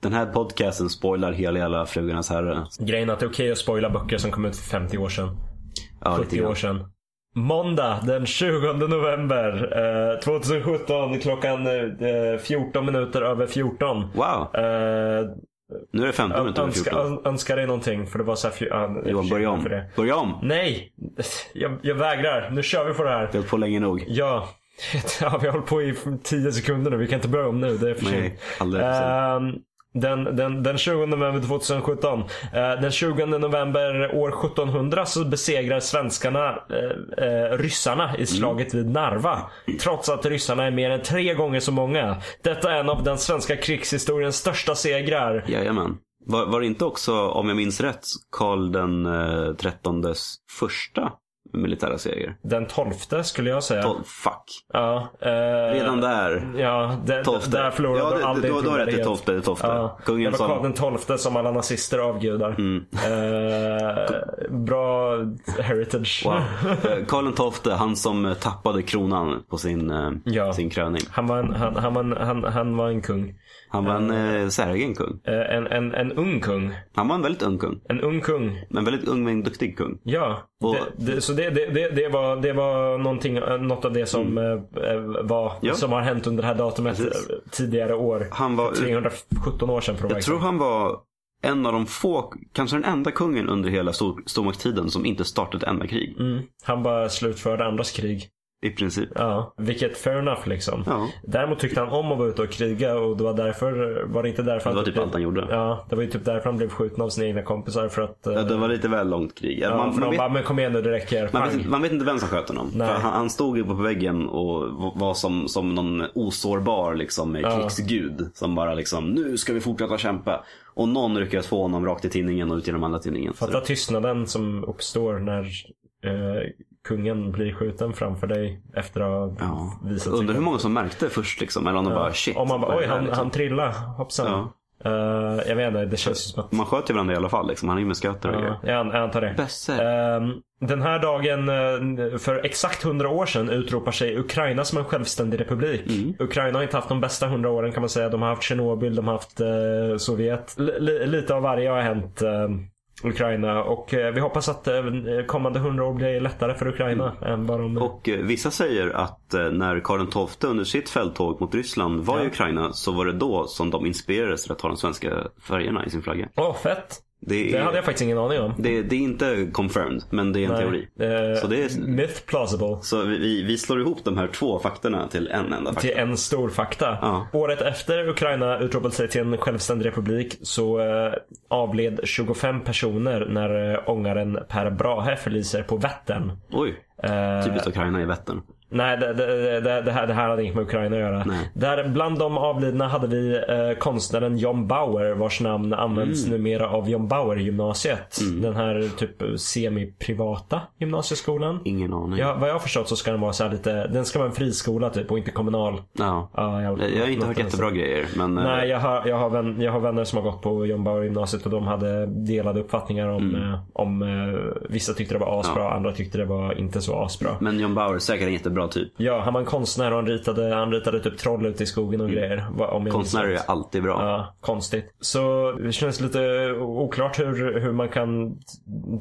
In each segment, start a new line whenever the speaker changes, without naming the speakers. Den här podcasten spoilar hela jävla Frugarnas Herre.
Grejen är att det är okej att spoila böcker som kom ut för 50 år sedan.
Ja, lite
70
grann.
år sedan. Måndag den 20 november eh, 2017 klockan eh, 14 minuter över 14.
Wow,
Eh,
nu är det 15 minuter över
önska,
14.
ö- önska dig någonting för det var så här... fju- ja,
Johan, börja om.
för det.
Börja om!
Nej! Jag, jag vägrar. Nu kör vi på det här.
Vi har hållit på länge nog.
Ja. ja, vi har hållit på i 10 sekunder nu. Vi kan inte börja om nu. Det är för sent.
Nej, alldeles för sent.
Ehm, den, den, den 20 november 2017. eh, den 20 november år 1700 så besegrar svenskarna eh, eh, ryssarna
Mm.
i slaget vid Narva. Trots att ryssarna är mer än tre gånger så många. Detta är en av den svenska krigshistoriens största segrar.
Jajamän. Var, var det inte också, om jag minns rätt, Karl den eh, trettondes första militära seger?
Den 12 skulle jag säga.
Tolv, fuck.
Ja, eh,
Redan där.
Ja, det,
Tolfte.
där förlorade
ja,
de
det,
all
det,
din
då, då är det
trovärdighet.
tolfte. Det är tolfte.
Ja,
Kungen
det var Karl
som... Mm.
den tolfte som alla nazister avgudar. Eh, bra heritage.
Wow. Eh, Karl den tolfte, han som eh, tappade kronan på sin, eh,
Ja.
sin kröning.
Han, var en, han, han, var en, han, han var en kung.
Han var en eh, säregen kung.
Eh, en, en, en ung kung.
Han var en väldigt ung kung.
En ung kung.
Men väldigt ung men duktig kung.
Ja.
Och-
det, det, så det, det, det, det var, det var någonting, eh, något av det som, eh, eh, var,
Mm. Ja.
som har hänt under det här datumet
Precis.
eh, tidigare år.
Han var,
317 år sedan för att vara
jag tror
exakt.
han var en av de få, kanske den enda kungen under hela stor, stormaktstiden som inte startade ett enda krig.
mm. Han bara slutförde andras krig.
I princip.
Ja. Vilket fair enough liksom.
Ja.
Däremot tyckte han om att vara ute och kriga och det var därför, var det inte därför
Det var
han
typ allt han gjorde.
Ja, det var ju typ därför han blev skjuten av sina egna kompisar för att... eh,
Ja, Det var lite väl långt krig.
ja,
Eller
för
man, man,
de
vet,
bara, men kom igen nu det räcker.
man,
Pang.
vet, inte- man vet inte vem som sköt honom. För
Nej.
han, han stod ju på väggen och v- var som, som någon osårbar liksom, krigsgud. Som bara liksom, nu ska vi fortsätta kämpa. Och någon lyckades få honom rakt i tinningen och ut genom andra tinningen. Så
Fatta tystnaden som uppstår när eh, kungen blir skjuten framför dig efter att ha
Ja.
visat
Undrar hur
sig.
många som märkte först liksom. Eller om de bara shit.
Om man
vad
bara,
är
oj
det här,
han,
liksom?
han trillade, hoppsan.
Ja.
Eh, jag vet inte, det känns ju som att...
Man sköt ju varandra i alla fall. Liksom. Han är ju med sköter och grejer.
Ja, jag antar det.
Bössor.
Ehm, Den här dagen eh, för exakt 100 år sedan utropar sig Ukraina som en självständig republik.
Mm.
Ukraina har inte haft de bästa 100 åren kan man säga. De har haft Tjernobyl, de har haft eh, Sovjet. L- li- lite av varje har hänt eh, Ukraina och eh, vi hoppas att eh, kommande 100 år blir lättare för Ukraina än vad de...
Och eh, vissa säger att eh, när Karl XII under sitt fälttåg mot Ryssland var i Ukraina så var det då som de inspirerades till att ha de svenska färgerna i sin flagga.
Åh, fett!
Det
Det
är,
hade
det,
jag faktiskt ingen aning om.
det, är inte confirmed, men det är en teori.
Eh,
Så det är-
Myth plausible.
Så vi- vi, vi slår ihop de här två faktorna till en enda faktor.
till en stor fakta.
Ja.
Året efter Ukraina utropade sig till en självständig republik så eh, avled 25 personer när eh, ångaren Per Brahe förliser på Vättern.
Oj,
Eh,
typiskt Ukraina i Vättern.
Nej, det, det, det, det, här, det här hade inget med Ukraina att göra.
Nej.
Där bland de avlidna hade vi eh, konstnären John Bauer vars namn används
Mm.
numera av John Bauer-gymnasiet. Den här typ semiprivata gymnasieskolan.
Ingen aning.
Ja, vad jag har förstått så ska den vara så här lite, den ska vara en friskola typ och inte kommunal.
Ja.
Ja,
Jag jag har inte hört jättebra grejer, men eh,
Nej, jag har, jag, har vän, jag har vänner som har gått på John Bauer gymnasiet och de hade delade uppfattningar om,
Mm.
eh, om eh, vissa tyckte det var asbra, andra tyckte det var inte så asbra.
men John Bauer är säkert en jättebra typ.
Ja, han var en konstnär och han ritade, han ritade typ troll ute i skogen och
Mm.
grejer. va- Om jag minns
Konstnärer
rätt.
är alltid bra.
Ja, konstigt. Så det känns lite oklart hur, hur man kan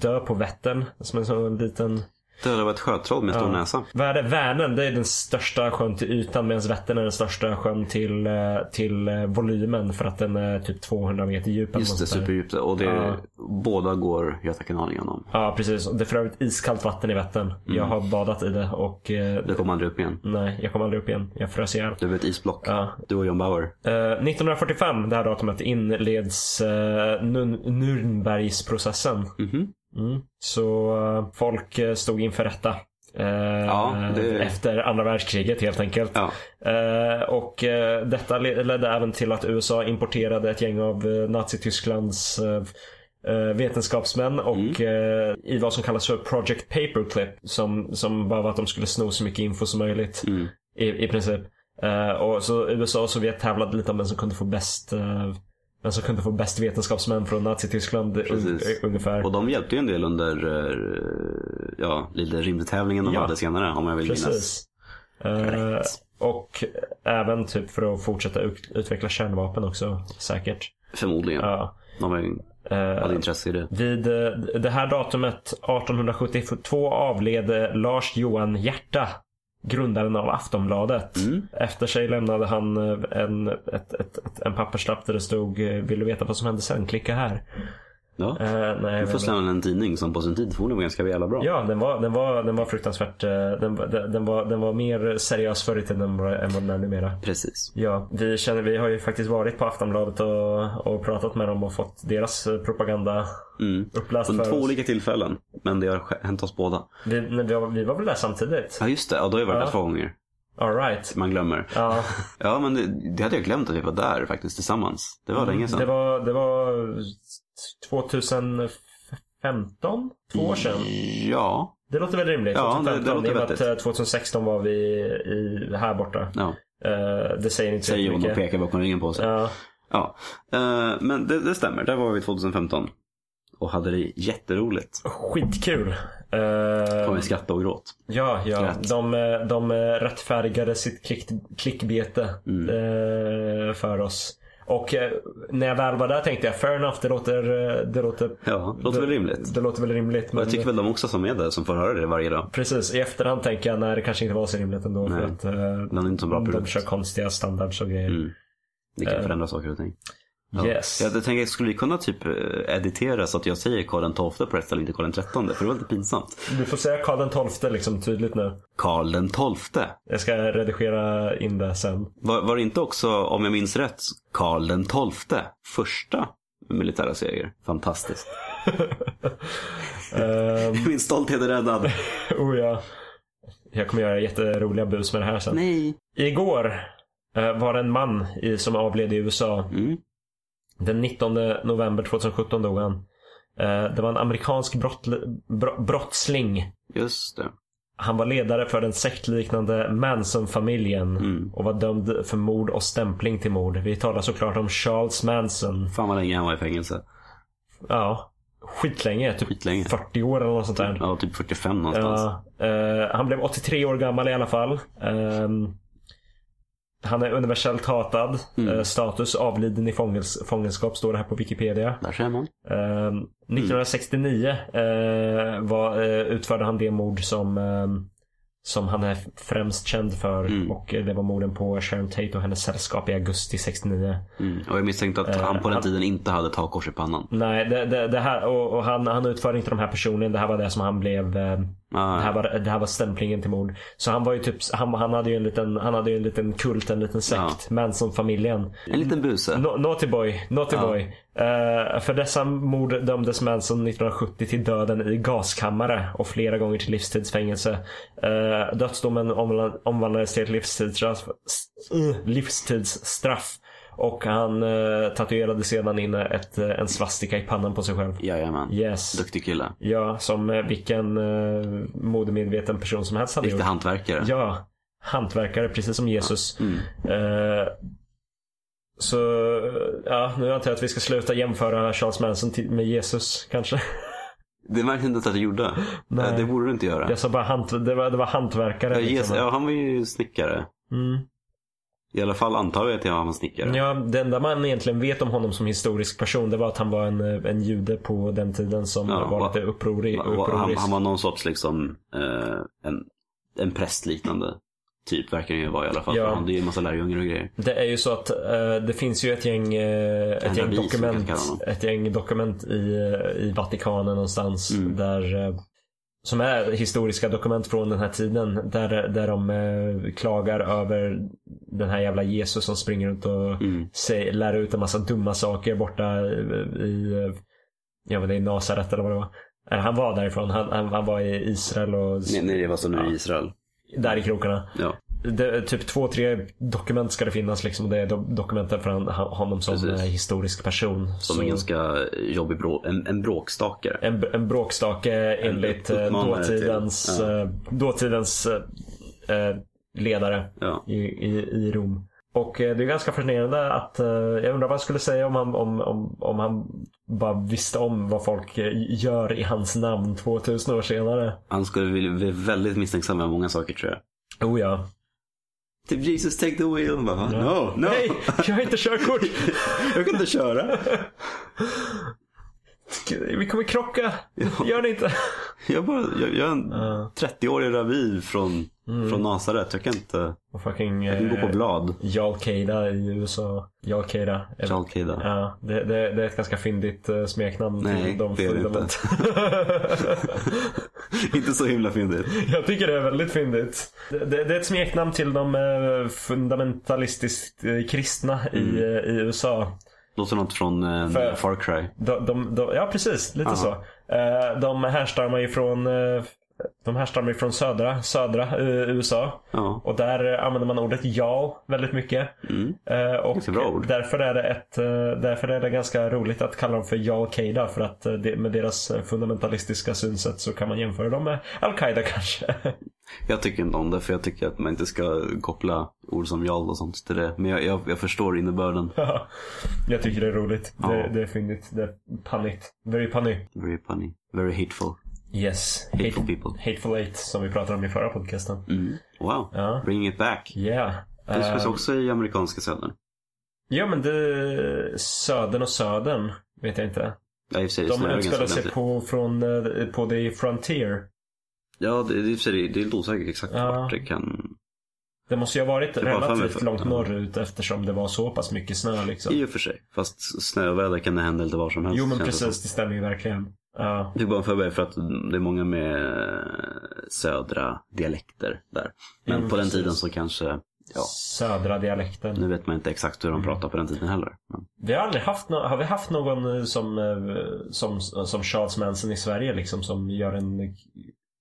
dö på Vättern som en sån liten
Det hade varit ett sjötroll med stor näsa.
Vad är det? Vänern, det är den största sjön till ytan medan Vättern är den största sjön till, eh, till eh, volymen för att den är typ 200 meter djup. eller
Just det,
något sånt där.
superdjupt. Och det,
Ja.
båda går Göta kanal igenom.
Ja, precis. Och Det är för övrigt iskallt vatten i Vättern. Jag har badat i det och eh,
Det kommer aldrig upp igen.
nej, jag kommer aldrig upp igen. Jag frös ihjäl.
Du är ett isblock.
Ja.
Du och John Bauer.
Eh, 1945, det här datumet, inleds eh, Nun- Nürnbergsprocessen.
Mhm.
Mm. Så eh, folk eh, stod inför rätta. Eh,
det-
Efter andra världskriget helt enkelt.
Ja.
Eh, och eh, detta le- ledde även till att USA importerade ett gäng av eh, Nazitysklands eh, eh, vetenskapsmän
Mm.
och eh, i vad som kallas för Project Paperclip. Som, som bara var att de skulle sno så mycket info som möjligt.
Mm.
I, i princip. Eh, och så USA och Sovjet tävlade lite om vem som kunde få bäst eh, vem som kunde få bäst vetenskapsmän från Nazityskland
Precis.
un- ungefär.
Och de hjälpte ju en del under eh, ja, lite rymdtävlingen de
Ja.
hade senare om jag vill minnas.
Precis. Eh,
Rätt.
och även typ för att fortsätta ut- utveckla kärnvapen också säkert.
Förmodligen.
Ja.
De är,
Eh,
hade intresse i det.
Vid eh, det här datumet 1872 avled Lars Johan Hierta, grundaren av Aftonbladet.
Mm.
Efter sig lämnade han eh, en, ett, ett, ett, en papperslapp där det stod eh, Vill du veta vad som hände sen? Klicka här.
Ja.
Eh, nej,
Du får
men-
släppa en tidning som på sin tid förmodligen var ganska jävla bra.
Ja, den var, den var, den var fruktansvärt. eh, Den, var- den, den, var, den var mer seriös förr i tiden än vad än vad den är numera.
Precis.
Ja, vi, känner, vi har ju faktiskt varit på Aftonbladet och, och pratat med dem och fått deras eh, propaganda
Mm.
uppläst
På
för
två
oss.
olika tillfällen. Men det har sk- hänt oss båda.
Vi, nej, vi, var, vi var väl där samtidigt?
Ja just det, ja, då har jag varit
Ja.
där två gånger.
Alright.
Man glömmer.
Ja,
Ja men det, det hade jag glömt att vi var där faktiskt tillsammans. Det var länge sedan.
Mm, det var, det var 2015? Två år sedan.
Ja.
Det låter väl rimligt?
Ja, det- det
2015,
låter
i och med
vettigt.
att eh, 2016 var vi i, här borta.
ja.
Eh, det säger inte så
Säger hon och
mycket.
pekar bakom ryggen på sig.
Ja,
Ja, eh, men det, det stämmer. Där var vi 2015. Och hade det jätteroligt.
skitkul. Eh,
Kom vi skratta och gråt.
Ja, ja.
Skratt.
De, eh, de eh, rättfärdigade sitt klick, klickbete
Mm.
eh, för oss. Och eh, när jag väl var där tänkte jag, fair enough, det låter, eh, det låter,
Ja, det låter väl rimligt.
det låter väl rimligt. Men
Jag tycker väl de också som är där som får höra det varje dag.
Precis, i efterhand tänker jag, nej det kanske inte var så rimligt ändå för att eh,
Den är inte så bra
de
produkt.
kör konstiga standards och grejer.
Mm. Det kan förändra saker och ting. Ja.
Yes.
Jag tänkte, skulle vi kunna typ eh, editera så att jag säger Karl den 12 på ett ställe, inte Karl den 13? För det var lite pinsamt.
Du får säga Karl den XII liksom tydligt nu.
Karl den 12.
Jag ska redigera in det sen.
Var, var det inte också, om jag minns rätt, Karl den 12? Första militära seger. Fantastiskt.
Ehm,
Min stolthet är räddad.
oh ja. Jag kommer göra jätteroliga bus med det här sen.
Nej.
Igår eh, var det en man i, som avled i USA.
Mm.
Den 19 november 2017 dog han. Eh, det var en amerikansk brott, bro, brottsling.
Just det.
Han var ledare för den sektliknande Manson-familjen
Mm.
och var dömd för mord och stämpling till mord. Vi talar såklart om Charles Manson.
Fan vad länge han var i fängelse.
Ja, skitlänge. Typ
Skitlänge.
40 år eller något sånt där.
Ja, typ 45 någonstans.
Ja, eh, han blev 83 år gammal i alla fall. Ehm, han är universellt hatad. Eh, status avliden i fångels- fångenskap står det här på Wikipedia.
Där ser man.
Ehm, 1969 eh, var, eh, utförde han det mord som, ehm, som han är främst känd för. Och eh, det var morden på Sharon Tate och hennes sällskap i augusti 69.
Mm. Och jag misstänkte att han
Eh,
på den tiden inte hade takkors i pannan.
Nej, det, det, det här, och, och han, han utförde inte de här personerna. Det här var det som han blev ehm, Det här,
Ah,
var, det här var stämplingen till mord. Så han var ju typ, han, han hade ju en liten, han hade ju en liten kult, en liten sekt. Manson-familjen.
en liten buse.
No, naughty boy, naughty boy. Eh, för dessa mord dömdes Manson 1970 till döden i gaskammare och flera gånger till livstidsfängelse. Uh, dödsdomen omla- omvandlades till ett livstidsstraff, s- uh, livstidsstraff. Och han eh, tatuerade sedan in ett, eh, en svastika i pannan på sig själv.
Jajamän.
Yes.
Duktig kille.
Ja, som eh, vilken eh, modemedveten person som helst hade
Riktig
gjort.
hantverkare.
Ja, hantverkare precis som Jesus.
Mm.
Eh, så ja, nu antar jag att vi ska sluta jämföra Charles Manson till, med Jesus kanske.
Det märkte inte ens att du gjorde.
Nej.
Eh, Det borde du inte göra.
Jag sa bara hant, det, var, det var hantverkare.
Ja,
liksom.
Jesus, ja, han var ju snickare.
Mm.
I alla fall antar jag att jag var en snickare.
ja, det enda man egentligen vet om honom som historisk person det var att han var en, eh, en jude på den tiden som
Ja,
var
va-
lite upprorig.
Va- va- Han,
upprorisk.
han var någon sorts liksom eh, en, en prästliknande typ verkar han ju vara i alla fall.
Ja.
För Han hade ju en massa lärjungar och grejer.
Det är ju så att eh, det finns ju ett gäng, eh, ett gäng,
rabbin som man
dokument,
kan kalla honom.
ett gäng dokument i, eh, i Vatikanen någonstans.
Mm.
Där, eh, som är historiska dokument från den här tiden. Där, där de eh, klagar över den här jävla Jesus som springer runt och
Mm.
säger, lär ut en massa dumma saker borta i, i eh, jag vet inte, Nasaret eller vad det var. Eller han var därifrån. Han, han, han var i Israel och s-
Nej, nej, det var som nu i Israel.
där i krokarna.
Ja.
Det, typ två, tre dokument ska det finnas. Liksom, och det är do- dokumenten för han, han- honom som
Precis.
eh, historisk person.
Som
Så
en ganska jobbig brå, en, en bråkstakare.
en, en bråkstake enligt eh,
uppmanare till-
dåtidens,
ja.
eh, dåtidens eh, eh, ledare
Ja.
i, i, i Rom. Och eh, det är ganska fascinerande att eh, jag undrar vad han skulle säga om han, om, om, om han bara visste om vad folk eh, gör i hans namn 2000 år senare.
Han skulle bli bli väldigt misstänksam med många saker tror jag.
Oh ja.
Typ Jesus take the wheel. Man Bara, no, no.
Nej, jag har inte körkort.
Jag kan inte köra.
Vi kommer krocka. Gör det inte.
Jag, bara, jag, jag är en 30-årig ravi från, från Nasaret. Jag kan inte
Och fucking...
jag kan gå på blad.
Jarl Keida i USA. Jarl Keida. Eller-
Charles Kida.
eh, Ja, det, det, det är ett ganska fyndigt eh, smeknamn. till
Nej, det är det inte.
fundament-
inte så himla fyndigt.
Jag tycker det är väldigt fyndigt. Det, det, det är ett smeknamn till de eh, fundamentalistiskt eh, kristna
Mm.
i, eh, i USA.
Låter något från eh,
För-
Far Cry.
De, de, de, ja, precis. Lite
Ja.
så. Eh, De härstammar ju från eh, de härstammar ju från södra, södra eh, USA.
Ja.
Och där eh, använder man ordet ja väldigt mycket. Eh, Och
Mm. Ganska bra ord.
därför är, det ett, eh, därför är det ganska roligt att kalla dem för ja och Qaida. För att eh, det, med deras eh, fundamentalistiska synsätt så kan man jämföra dem med Al-Qaida kanske.
Jag tycker inte om det för jag tycker att man inte ska koppla ord som jal och sånt till det. Men jag, jag, jag förstår innebörden.
Ja, jag tycker det är roligt. Det,
Ja.
det är fyndigt. Det är pannigt. Very punny.
Very funny. Very hateful.
Yes.
Hateful people.
Hateful Eight som vi pratade om i förra podcasten.
Mm. Wow.
Ja.
Bring it back.
Yeah.
Det finns
Eh,
också i amerikanska södern.
ja men det... Södern och Södern. Vet jag inte.
Ja, i och för sig, det
De
snöar ganska
utspelar sig
ordentligt.
på, från, eh, på The Frontier.
Ja, det, det, är i och för sig- det, det är lite osäkert exakt
Ja.
vart det kan...
Det måste ju ha varit
var fan
relativt
för-
långt
ja.
norrut eftersom det var så pass mycket snö liksom.
I och för sig. Fast snöväder kan det hända lite var som helst.
Jo men
känns det
precis, det stämmer ju verkligen. Ja.
Jag tog bara en förberedelse för att det är många med eh, södra dialekter där. Men
men
på den
precis.
tiden så kanske, ja, Mm.
Södra dialekten.
nu vet man inte exakt hur de
Mm.
pratar på den tiden heller. Men,
Vi har aldrig haft, nå- har vi haft någon eh, som, eh, som, som Charles Manson i Sverige liksom som gör en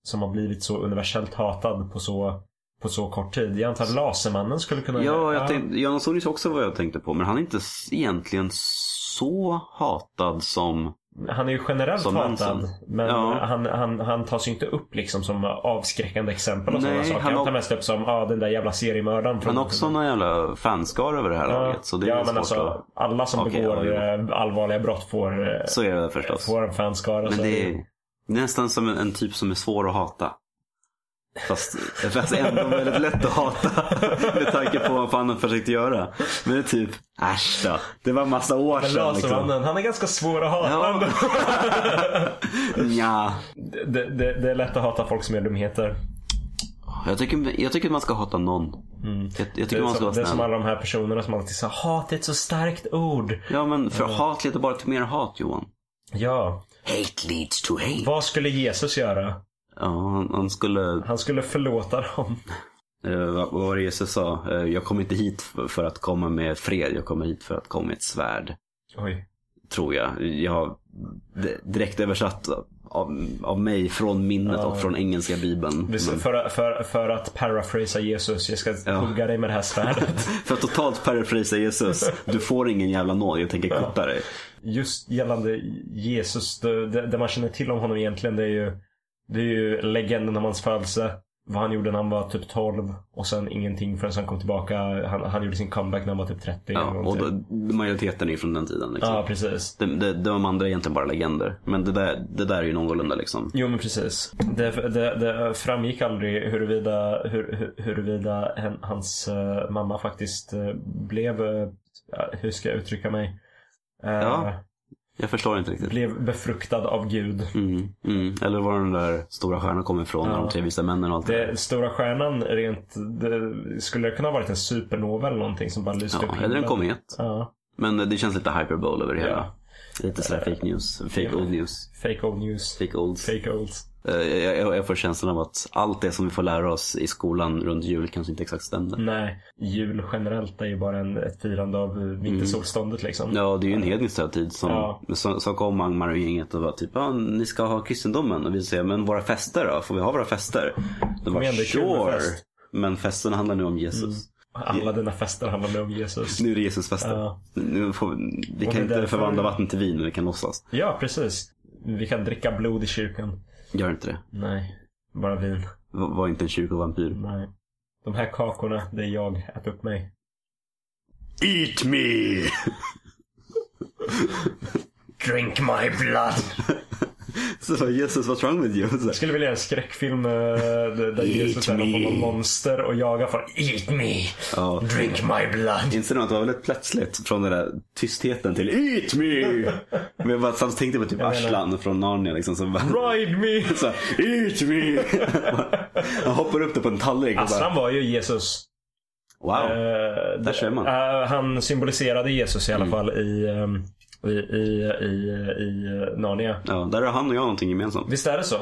som har blivit så universellt hatad på så, på så kort tid. Jag antar Lasermannen skulle kunna...
ja, jag tänkte, Jan Sonius också vad jag tänkte på, men han är inte s- egentligen så hatad som,
Han är ju generellt
Som
hatad.
Manson.
Men
Ja.
han, han, han tas ju inte upp liksom som avskräckande exempel och
Nej,
sådana saker.
han
Han tar
har-
mest upp som ah, den där jävla seriemördaren. från-
han har också någon jävla fanskar över det här
Mm. Ja,
laget. Så det är
ja
väl
men
svårt
alltså
att...
alla som
Okej,
begår
ja,
eh, allvarliga brott får, eh,
Så är det förstås.
får en fanskara.
Men
så-
det är nästan som en, en typ som är svår att hata. Fast, fast ändå väldigt lätt att hata med tanke på vad fan han försökte göra. Men det är typ, äsch då. Det var massa år
Men
sedan liksom.
Lasermannen, han är ganska svår att hata
Ja.
ändå.
Nja.
Det, det, det är lätt att hata folk som gör dumheter.
Jag tycker, jag tycker man ska hata någon. Jag, jag
Mm. Det
tycker
är,
man ska
som,
vara
det är som
snäll.
alla de här personerna som alltid sa hat är ett så starkt ord.
Ja men för hat leder bara till mer hat Johan.
Ja.
Hate leads to hate.
Vad skulle Jesus göra?
Ja, han, han skulle
Han skulle förlåta dem.
Eh, vad vad var det Jesus sa? Eh, jag kom inte hit f- för att komma med fred, jag kommer hit för att komma med ett svärd.
Oj.
Tror jag. Jag har d- direkt översatt av, av mig från minnet och från engelska bibeln.
Visst,
Men
För, för, för att paraphrasa Jesus, jag ska
Mm. Ja.
hugga dig med det här svärdet.
för att totalt parafrasa Jesus, du får ingen jävla nåd, jag tänker kutta dig.
Just gällande Jesus, det, det, det man känner till om honom egentligen det är ju, det är ju legenden om hans födelse. Vad han gjorde när han var typ 12 och sen ingenting förrän han kom tillbaka. Han, han gjorde sin comeback när han var typ 30.
Ja,
eller
och
någonting.
då, majoriteten är ju från den tiden. Liksom.
Ja, precis.
Det, det, de andra är egentligen bara legender. Men det där, det där är ju någorlunda liksom.
Jo men precis. Det, det, det framgick aldrig huruvida, hur, hur- huruvida hen, hans eh, mamma faktiskt eh, blev, eh, ja, hur ska jag uttrycka mig? Eh,
Ja. Jag förstår inte riktigt.
Blev befruktad av Gud.
Mm, mm. Eller var den där stora stjärnan kommer ifrån,
Ja.
de tre vise männen och allt det där.
Det, stora stjärnan rent, det, skulle det kunna ha varit en supernova eller någonting som bara lyste upp
Ja, eller en
himlen?
komet.
Ja.
Men det känns lite hyperbole över det
Ja.
hela. Lite sådär fake news. Fake old news.
Fake old news.
Fake olds.
Fake old.
Eh, Jag, jag, jag får känslan av att allt det som vi får lära oss i skolan runt jul kanske inte exakt stämde.
Nej, jul generellt är ju bara en, ett firande av eh, vintersolståndet liksom.
Mm. Ja, det är ju en hednisk högtid som,
Ja.
som, som kom Angmar och gänget och var typ ja, ni ska ha kristendomen och vi säger men våra fester då? Får vi ha våra fester? De var
igen, det är kul med
sure.
fest."
Men festen handlar nu om Jesus.
Alla dina fester handlar nu om Jesus.
Nu är det Jesusfesten.
Mm. Ja.
Nu får, vi- vi
det är
kan inte
därför-
förvandla vatten till vin men vi kan låtsas.
Ja, precis. Vi kan dricka blod i kyrkan.
Gör inte det.
Nej, bara vin.
Var var inte en kyrkovampyr.
Nej. De här kakorna, det är jag. Ät upp mig.
Eat me!
Drink my blood.
Så bara, Jesus what's wrong with you? Så,
Jag skulle vilja göra en skräckfilm eh, där där
Eat
Jesus är någon
me.
form av monster och jagar folk. Eat me!
ja.
Drink my blood!
Inser du att det var väldigt plötsligt från den där tystheten till Eat me! Men jag bara, samtidigt tänkte jag på typ
Jag menar-
Arslan från Narnia liksom. Som bara,
Ride me!
så, här, Eat me! Han hoppar upp det på en tallrik och bara,
Aslan Alltså, var ju Jesus.
wow.
Eh,
Där ser man. Mm.
eh, han symboliserade Jesus i alla fall i, ehm, i, i, i, i eh, Narnia.
Ja, där har han och jag någonting gemensamt.
Visst är det så?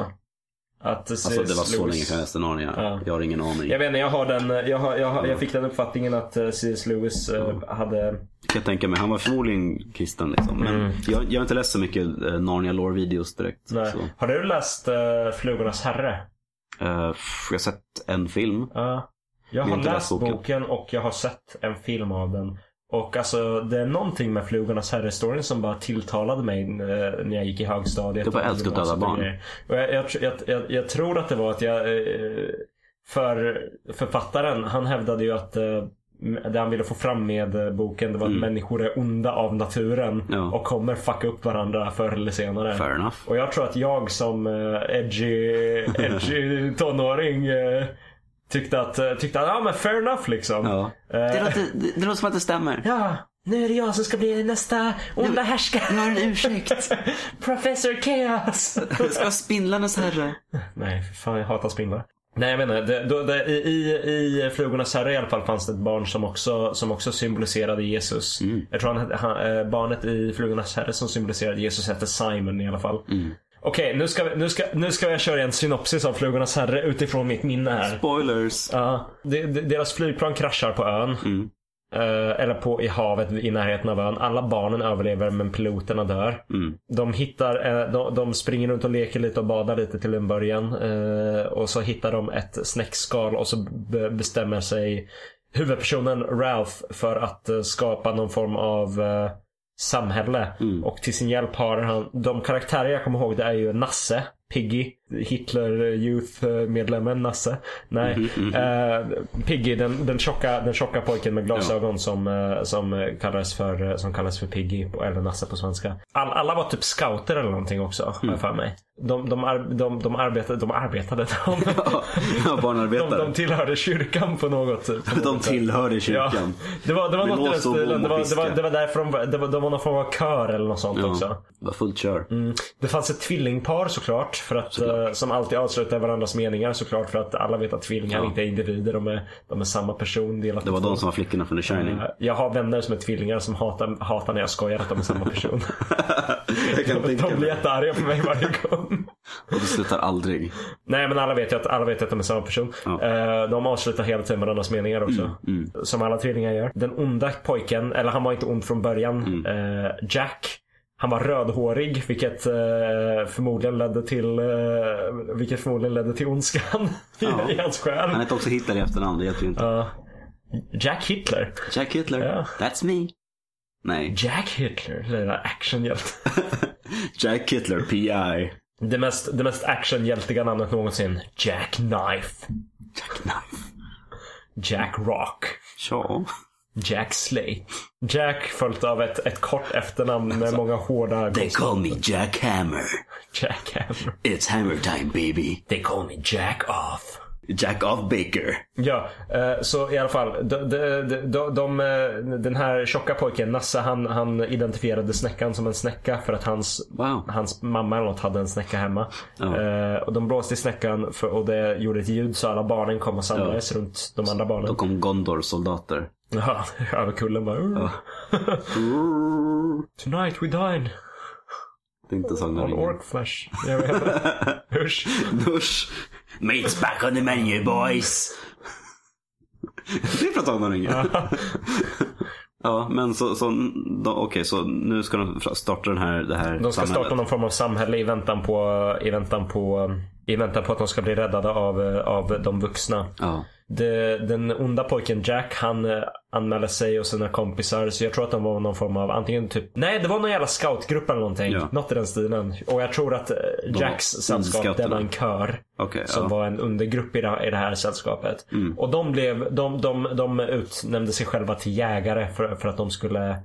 Att
Alltså det var
C.S.
så
Lewis-
länge sedan jag läste Narnia.
Ja.
Jag har ingen aning.
Jag vet inte, jag har den, jag, har, jag, har,
Ja.
jag fick den uppfattningen att eh, C.S. Lewis eh, hade...
Kan jag tänka mig. Han var förmodligen kristen liksom. Men
Mm.
jag, jag har inte läst så mycket eh, Narnia lore videos direkt.
Nej.
Så.
Har du läst eh, Flugornas Herre?
Eh, pff, jag har sett en film.
Ja. Jag
Men
har
inte
läst
läst boken.
boken. och jag har sett en film av den. Och alltså det är någonting med Flugornas herre-storyn som bara tilltalade mig eh, när jag gick i högstadiet.
Du bara
och
älskar att döda
gymnasiet och
barn.
grejer. Och jag, jag, tr- jag, jag, jag tror att det var att jag... eh, För författaren, han hävdade ju att eh, det han ville få fram med eh, boken det var att människor är onda av naturen
Mm. Ja.
och kommer fucka upp varandra förr eller senare.
Fair enough.
Och jag tror att jag som eh, edgy, edgy tonåring eh, tyckte att, eh, tyckte att, ja men fair enough liksom.
Ja.
Eh,
Det, låter, det, det låter som att det stämmer.
ja, nu är det jag som ska bli nästa onda härskare.
Jag har en ursäkt.
Professor Chaos.
Jag ska vara spindlarnas herre.
Nej, för fan jag hatar spindlar. Nej jag menar, det, då, det, i, i, i Flugornas herre i alla fall fanns det ett barn som också, som också symboliserade Jesus. Jag tror han, hette- han, eh, barnet i Flugornas herre som symboliserade Jesus hette Simon i alla fall. Okej, nu, ska, vi- nu, ska, nu ska jag köra en synopsis av Flugornas herre utifrån mitt minne här.
Spoilers.
Ja, de, de, deras flygplan kraschar på ön. Eh, eller på, i havet i närheten av ön. Alla barnen överlever men piloterna dör.
Mm.
De, hittar, eh, de, de springer runt och leker lite och badar lite till en början. Eh, och så hittar de ett snäckskal och så be- bestämmer sig huvudpersonen Ralph för att eh, skapa någon form av eh, samhälle. Och till sin hjälp har han, de karaktärer jag kommer ihåg det är ju Nasse, Piggy, Hitler Youth eh, medlemmen Nasse. Nej.
Mhm,
Eh, Piggy, den, den, tjocka, den tjocka pojken med glasögon som, eh, som, eh, kallas för, eh, som kallas för Piggy, på- eller Nasse på svenska. All, alla var typ scouter eller någonting också, har
Mm.
jag för mig. De, de, ar, de, de arbetade, de arbetade, de,
Ja, ja,
de, de
barnarbetare.
tillhörde kyrkan på något sätt.
De, tillhörde kyrkan.
Det var, det var
Med
något i den
lås och bom
stilen.
och
Det var, det, var,
piska.
det var därför de var, det var, de var någon form av kör eller något sånt
Ja.
också.
Det var fullt kör.
Mm. Det fanns ett tvillingpar såklart. För att, eh, som alltid avslutar varandras meningar såklart. För att alla vet att tvillingar
Ja.
inte är individer. De är, de är samma person. delat
Det var
i två.
de som var flickorna från The Shining.
Eh, Jag har vänner som är tvillingar som hatar, hatar när jag skojar att de är samma person.
Jag kan
de
tänka
blir
mig.
jättearga på mig varje gång.
Och det slutar aldrig.
Nej men alla vet ju att, alla vet ju att de är samma person.
Ja. Mm,
Eh, De avslutar hela tiden varandras meningar också. Som alla tvillingar gör. Den onda pojken, eller han var inte ond från början,
Mm.
eh, Jack. Han var rödhårig vilket, eh, förmodligen ledde till, eh, vilket förmodligen ledde till ondskan i-
Ja.
i hans själ.
Han hette också Hitler i efternamn. Det hjälpte ju inte.
Ja. Jack Hitler.
Jack Hitler.
Ja.
That's me. Nej.
Jack Hitler, lilla actionhjälte.
Jack Hitler, PI.
Det mest, det mest actionhjältiga namnet någonsin. Jack Knife.
Jack Knife.
Jack Rock.
Ja.
Jack Slay. Jack följt av ett, ett kort efternamn med många hårda...
They call me Jack Hammer.
Jack Hammer.
It's hammer time baby.
They call me Jack Off.
Jack off Baker.
Ja, eh, så i alla fall. De, de, de, de, de, eh, den här tjocka pojken, Nasse, han, han identifierade snäckan som en snäcka för att hans,
Wow.
hans mamma eller något hade en snäcka hemma.
Ja.
Eh, och de blåste i snäckan för, och det gjorde ett ljud så alla barnen kom och samlades runt de andra
Då
barnen.
kom Gondors soldater.
Ja, över kullen bara. "Urr, Tonight we dine
Det är inte Sagan om
on
ringen.
orc flesh. Jag vet inte. Usch.
Usch. Meat's back on the menu boys. Det är från Sagan om ringen. Ja, men så, så då- okej, så nu ska de starta den här, det här
De ska
samhället.
starta någon form av samhälle i väntan på, i väntan på, i väntan på att de ska bli räddade av, eh, av de vuxna.
Ja.
Det- den onda pojken Jack, han eh, anmälde sig och sina kompisar. Så jag tror att de var någon form av antingen typ, nej det var någon jävla scoutgrupp eller någonting.
Ja.
Något i den stilen. Och jag tror att eh, Jacks
var
sällskap, det
scouterna.
var en kör.
Okej,
Som
ja. Mm.
var en undergrupp i det här, i det här sällskapet. Och de, blev, de, de, de utnämnde sig själva till jägare för, för att de skulle,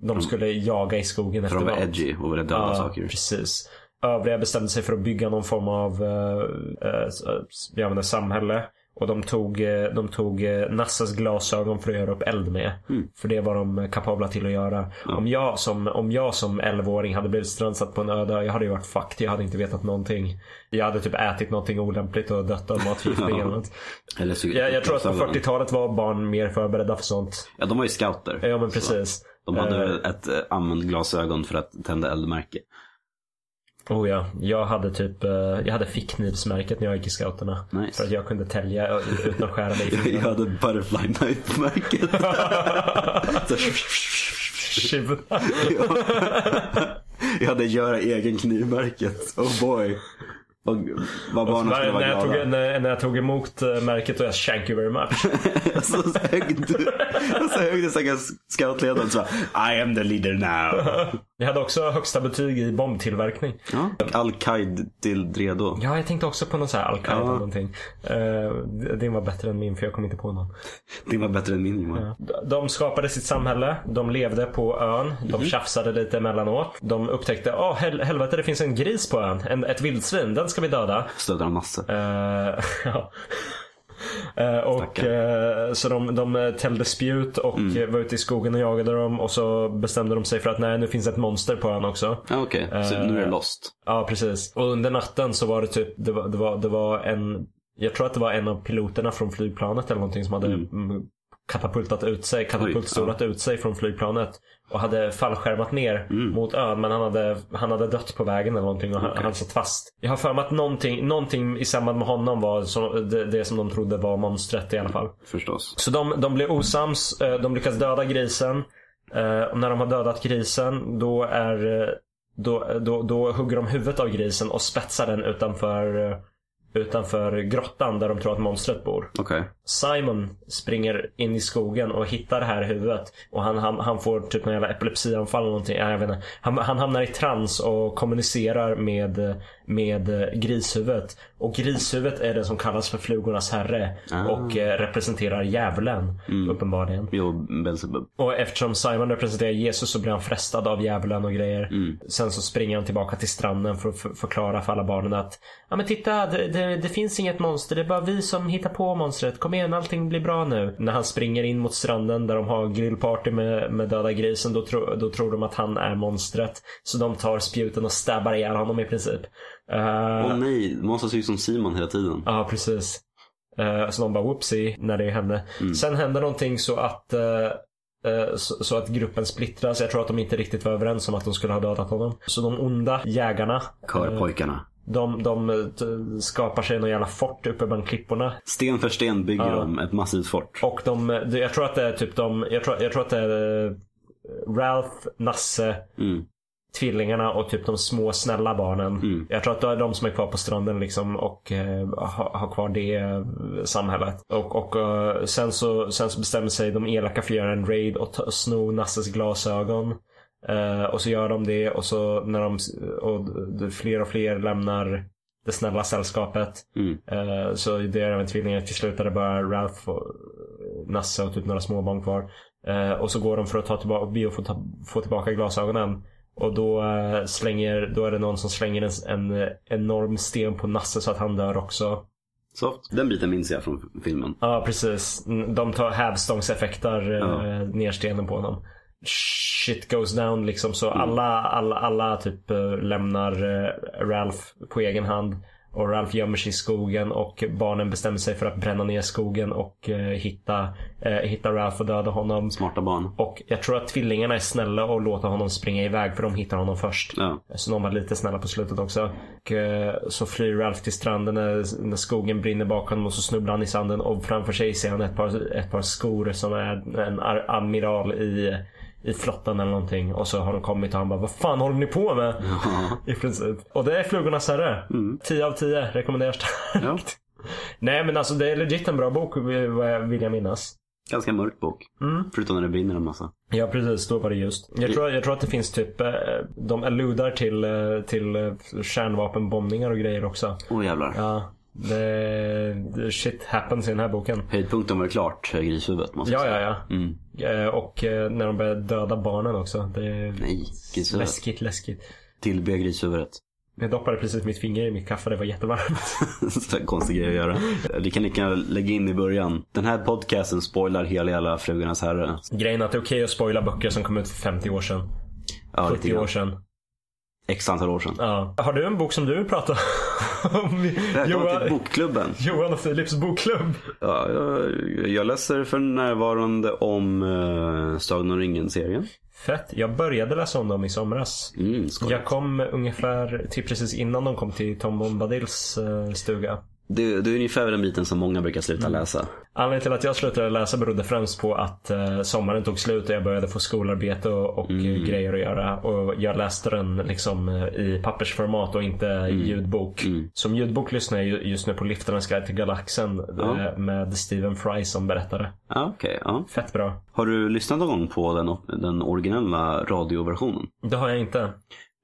de skulle jaga i skogen
Mm. För
efter
de var
mat.
edgy och ville döda
Ja,
saker.
precis. Övriga bestämde sig för att bygga någon form av eh, eh, s- jag menar, samhälle. Och de tog, eh, de tog eh, Nassas glasögon för att göra upp eld med. För det var de kapabla till att göra. Om, jag som, om jag som 11-åring hade blivit strandsatt på en öde ö, jag hade ju varit fucked. Jag hade inte vetat någonting. Jag hade typ ätit någonting olämpligt och dött av matförgiftning eller något.
Eller så,
Jag, jag tror att på
glasögonen.
40-talet var barn mer förberedda för sånt.
Ja, de var ju scouter.
Ja men
Så
precis.
De hade väl ett eh, använt glasögon för att tända eldmärke.
Oh ja, jag hade typ eh, jag hade fickknivsmärket när jag gick i scouterna.
Nice.
För att jag kunde tälja eh, utan att skära mig i
Jag
fingrarna.
hade butterfly knife-märket. Så-
Shiv.
jag hade göra egen knivmärket. Oh boy. Och vad barnen skulle
Alltså, när,
vara
jag tog,
glada.
när, när jag tog emot eh, märket och jag thank you very much.
Så högg du. Så högg du stackars scoutledaren så bara, I am the leader now.
Jag hade också högsta betyg i bombtillverkning.
Ja. Och Al-Qaid till Dredo.
Ja, jag tänkte också på någon sån här al-Qaida eller någonting. Eh, Din var bättre än min för jag kom inte på någon.
Det var bättre än min Johan.
De skapade sitt samhälle. De levde på ön. De
Mhm.
tjafsade lite emellanåt. De upptäckte, åh hel- helvete det finns en gris på ön. En, ett vildsvin, den ska vi döda.
Stödde han massor.
Eh, ja. Eh, och, eh, så de, de eh, täljde spjut och eh, var ute i skogen och jagade dem. Och så bestämde de sig för att nej, nu finns ett monster på ön också.
Ja, Okej, så nu är
Eh.
det lost.
Ja, precis. Och under natten så var det typ, det var, det var, det var en, jag tror att det var en av piloterna från flygplanet eller någonting som hade mm. katapultat ut sig, katapultstolat ut sig från flygplanet. Och hade fallskärmat ner mot ön men han hade, han hade dött på vägen eller någonting och han, han satt fast. Jag har för mig att någonting, någonting i samband med honom var så, det, det som de trodde var monstret i alla fall.
Förstås.
Så de, de blir osams, eh, de lyckas döda grisen. Eh, Och när de har dödat grisen då är eh, då, då, då hugger de huvudet av grisen och spetsar den utanför, eh, utanför grottan där de tror att monstret bor.
Okej.
Simon springer in i skogen och hittar det här huvudet. Och han, han, han får typ någon jävla epilepsianfall eller någonting. Nej, Jag vet inte. Han, han hamnar i trans och kommunicerar med, med eh, grishuvudet. Och grishuvudet är det som kallas för flugornas herre. Och eh, representerar djävulen uppenbarligen.
Jo, Belsebub.
Och eftersom Simon representerar Jesus så blir han frestad av djävulen och grejer.
Mm.
Sen så springer han tillbaka till stranden för att för- förklara för alla barnen att Ja men titta, det, det, det finns inget monster. Det är bara vi som hittar på monstret. Kom igen, allting blir bra nu. När han springer in mot stranden där de har grillparty med, med döda grisen då, tro, då tror de att han är monstret. Så de tar spjuten och stabbar ihjäl honom i princip. Eh,
Åh nej, Måns ser ju som Simon hela tiden.
Ja, precis. Eh, så de bara whoopsie när det hände. Sen hände någonting så att, eh, eh, så, så att gruppen splittras. Jag tror att de inte riktigt var överens om att de skulle ha dödat honom. Så de onda jägarna,
Körpojkarna.
de, de eh, t- skapar sig någon jävla fort uppe bland klipporna.
Sten för sten bygger de ett massivt fort.
Eh. Och de, eh, jag tror att det är typ de, jag tror, jag tror att det är eh, Ralph, Nasse,
Mm.
tvillingarna och typ de små snälla barnen. Jag tror att det är de som är kvar på stranden liksom och eh, har har kvar det eh, samhället. Och, och eh, sen, så, sen så bestämmer sig de elaka för att göra en raid och, ta, och sno Nasses glasögon. Eh, och så gör de det och så när de och d- fler och fler lämnar det snälla sällskapet.
Mm.
Eh, så det är även tvillingar. Till slut är det bara Ralph och Nasse och typ några småbarn kvar. Eh, och så går de för att ta tillbaka, be och få, ta, få tillbaka glasögonen. Och då, eh, slänger, då är det någon som slänger en, en eh, enorm sten på Nasse så att han dör också.
Så, den biten minns jag från filmen.
Ja, precis. Mm, De tar hävstångseffektar eh, ner stenen på honom. Shit goes down liksom. Så alla, alla, alla typ eh, lämnar eh, Ralph på egen hand. Och Ralph gömmer sig i skogen och barnen bestämmer sig för att bränna ner skogen och eh, hitta, eh, hitta Ralph och döda honom.
Smarta barn.
Och jag tror att tvillingarna är snälla och låter honom springa iväg för de hittar honom först.
Ja.
Så de var lite snälla på slutet också. Och, eh, så flyr Ralph till stranden när, när skogen brinner bakom honom och så snubblar han i sanden och framför sig ser han ett par, ett par skor som är en ar- admiral i, i flottan eller någonting. Och så har de kommit och han bara Vad fan håller ni på med? I princip. Och det är Flugornas Herre. 10 av 10 rekommenderas det.
ja.
Nej men alltså det är legit en bra bok vad jag- vill jag minnas.
Ganska mörk bok.
Mm.
Förutom när det brinner en massa.
Ja precis, då var det just. Jag tror, jag tror att det finns typ, eh, de alludar till, eh, till eh, kärnvapenbombningar och grejer också.
Åh oh, jävlar.
Ja, det, det- shit happens i den här boken.
Höjdpunkten var det klart, eh, grishuvudet. Måste jag
Ja,
säga.
ja, ja.
Mm.
Eh, Och eh, när de börjar döda barnen också. Det är
Nej, grishuvudet.
läskigt, läskigt.
Tillbe grishuvudet.
Jag doppade precis mitt finger i mitt kaffe, det var jättevarmt.
Så här Konstig grej att göra. Vi kan lika gärna lägga in i början. Den här podcasten spoilar hela jävla Flugornas Herre.
Grejen är att det är okej att spoila böcker som kom ut för 50 år sedan.
Ja, lite
70 år
grann.
sedan.
X antal år sedan.
Ja. Har du en bok som du vill prata om?
Välkommen till
Johan,
Bokklubben.
Johan och Philips bokklubb.
Ja, jag, jag läser för närvarande om uh, Sagan om ringen-serien.
Fett. Jag började läsa om dem i somras.
Mm, skoj.
Jag kom ungefär till precis innan de kom till Tom Bombadils eh, stuga.
Det, det är ungefär den biten som många brukar sluta
Mm.
läsa.
Anledningen till att jag slutade läsa berodde främst på att eh, sommaren tog slut och jag började få skolarbete och, och eh,
Mm.
grejer att göra. Och jag läste den liksom eh, i pappersformat och inte i
Mm.
ljudbok. Som ljudbok lyssnar jag ju- just nu på Liftarens guide till galaxen
Ja.
eh, med Stephen Fry som berättare.
Ja, okej. ja.
Fett bra.
Har du lyssnat någon gång på den, den originella radioversionen?
Det har jag inte.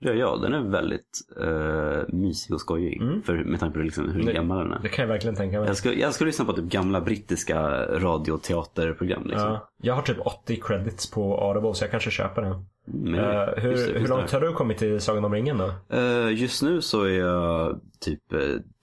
Ja, ja den är väldigt uh, mysig och skojig. För, med tanke på liksom hur
Mm. Det-
gammal den är.
Det kan jag verkligen tänka mig.
Jag ska, jag ska lyssna på typ gamla brittiska radioteaterprogram. Liksom.
Ja, jag har typ 80 credits på Audible så jag kanske köper den.
Men,
Eh, hur,
just det,
hur
just
långt
det.
har du kommit i Sagan om ringen då?
Eh, just nu så är jag typ eh,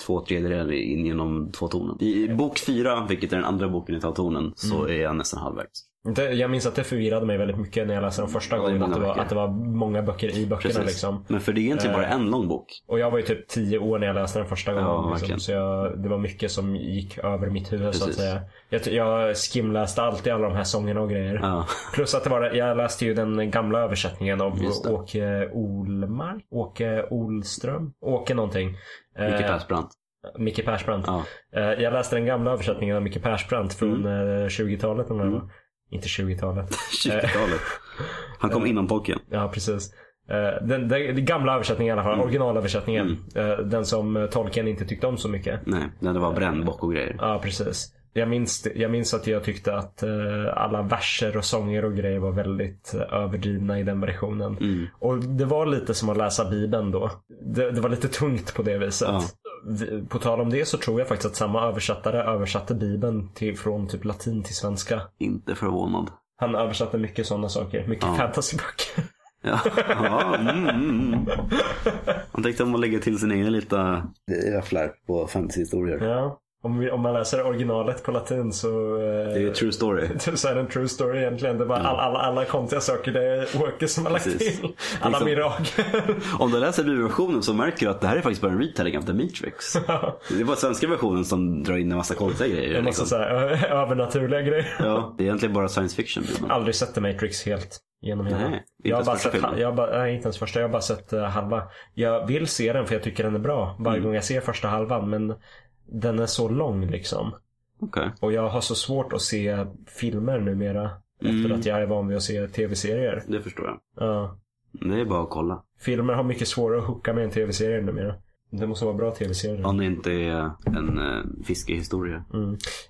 två tredjedelar in genom två tornen. I i bok fyra, vilket är den andra boken i Tautonen, så
Mm.
är jag nästan halvvägs.
Det, jag minns att det förvirrade mig väldigt mycket när jag läste den första
Mm. Ja, det är
gången. Att
många
det, var,
böcker.
att det var många böcker i böckerna liksom.
Men för det är egentligen bara en lång bok.
Och jag var ju typ 10 år när jag läste den första gången. liksom.
verkligen.
Så jag, det var mycket som gick över mitt huvud så att
Precis.
säga. Jag, ty- jag skimläste alltid alla de här sångerna och grejer.
Ja.
Plus att det var, jag läste ju den gamla översättningen av
Just det.
Åke Olmark? Åke Olström? Åke någonting. Eh,
Micke Persbrandt.
Micke Persbrandt.
Ja.
Eh, Jag läste den gamla översättningen av Micke Persbrandt från
Mm.
eh, 20-talet. eller vad det var. Inte 20-talet.
20-talet. Han
Eh.
kom innan pojken.
Ja, precis. Eh, Den, den, den gamla översättningen i alla fall. Originalöversättningen. Eh, Den som eh, Tolkien inte tyckte om så mycket.
Nej, när det var brännbock och grejer.
Ja, precis. Jag minns, det- jag minns att jag tyckte att eh, alla verser och sånger och grejer var väldigt eh, överdrivna i den versionen.
Mm.
Och det var lite som att läsa Bibeln då. Det, det var lite tungt på det viset.
Ja.
Vi- På tal om det så tror jag faktiskt att samma översättare översatte Bibeln till, från typ latin till svenska.
Inte förvånad.
Han översatte mycket sådana saker. Mycket fantasyböcker.
Ja, ja mm, mm, mm. Han tänkte om att lägga till sin egen lilla flärp på fantasyhistorier.
Ja. Om, vi, om man läser originalet på latin så, eh,
Det är ju true story.
så är det en true story egentligen. Det var all, alla, alla konstiga saker det är Åke som har lagt
Precis.
till. Alla
Liksom-
mirakel.
Om du läser bibelversionen så märker du att det här är faktiskt bara en retelling av The Matrix. Det är bara svenska versionen som drar in en massa konstiga grejer.
En massa
liksom.
så här, ö- övernaturliga grejer.
ja, det är egentligen bara science fiction. Bibeln.
Aldrig sett The Matrix helt genom hela.
Nej, inte
jag har
ens
bara
första
sett,
filmen.
jag har bara, nej, inte ens första. Jag har bara sett eh, halva. Jag vill se den för jag tycker den är bra. Varje
Mm.
gång jag ser första halvan. Men den är så lång liksom.
Okej.
Och jag har så svårt att se filmer numera. Efter
Mm.
att jag är van vid att se tv-serier.
Det förstår jag.
Ja.
Det är bara att kolla.
Filmer har mycket svårare att hooka med än tv-serier numera. Det måste vara bra tv-serier.
Om det inte är en eh, fiskehistoria.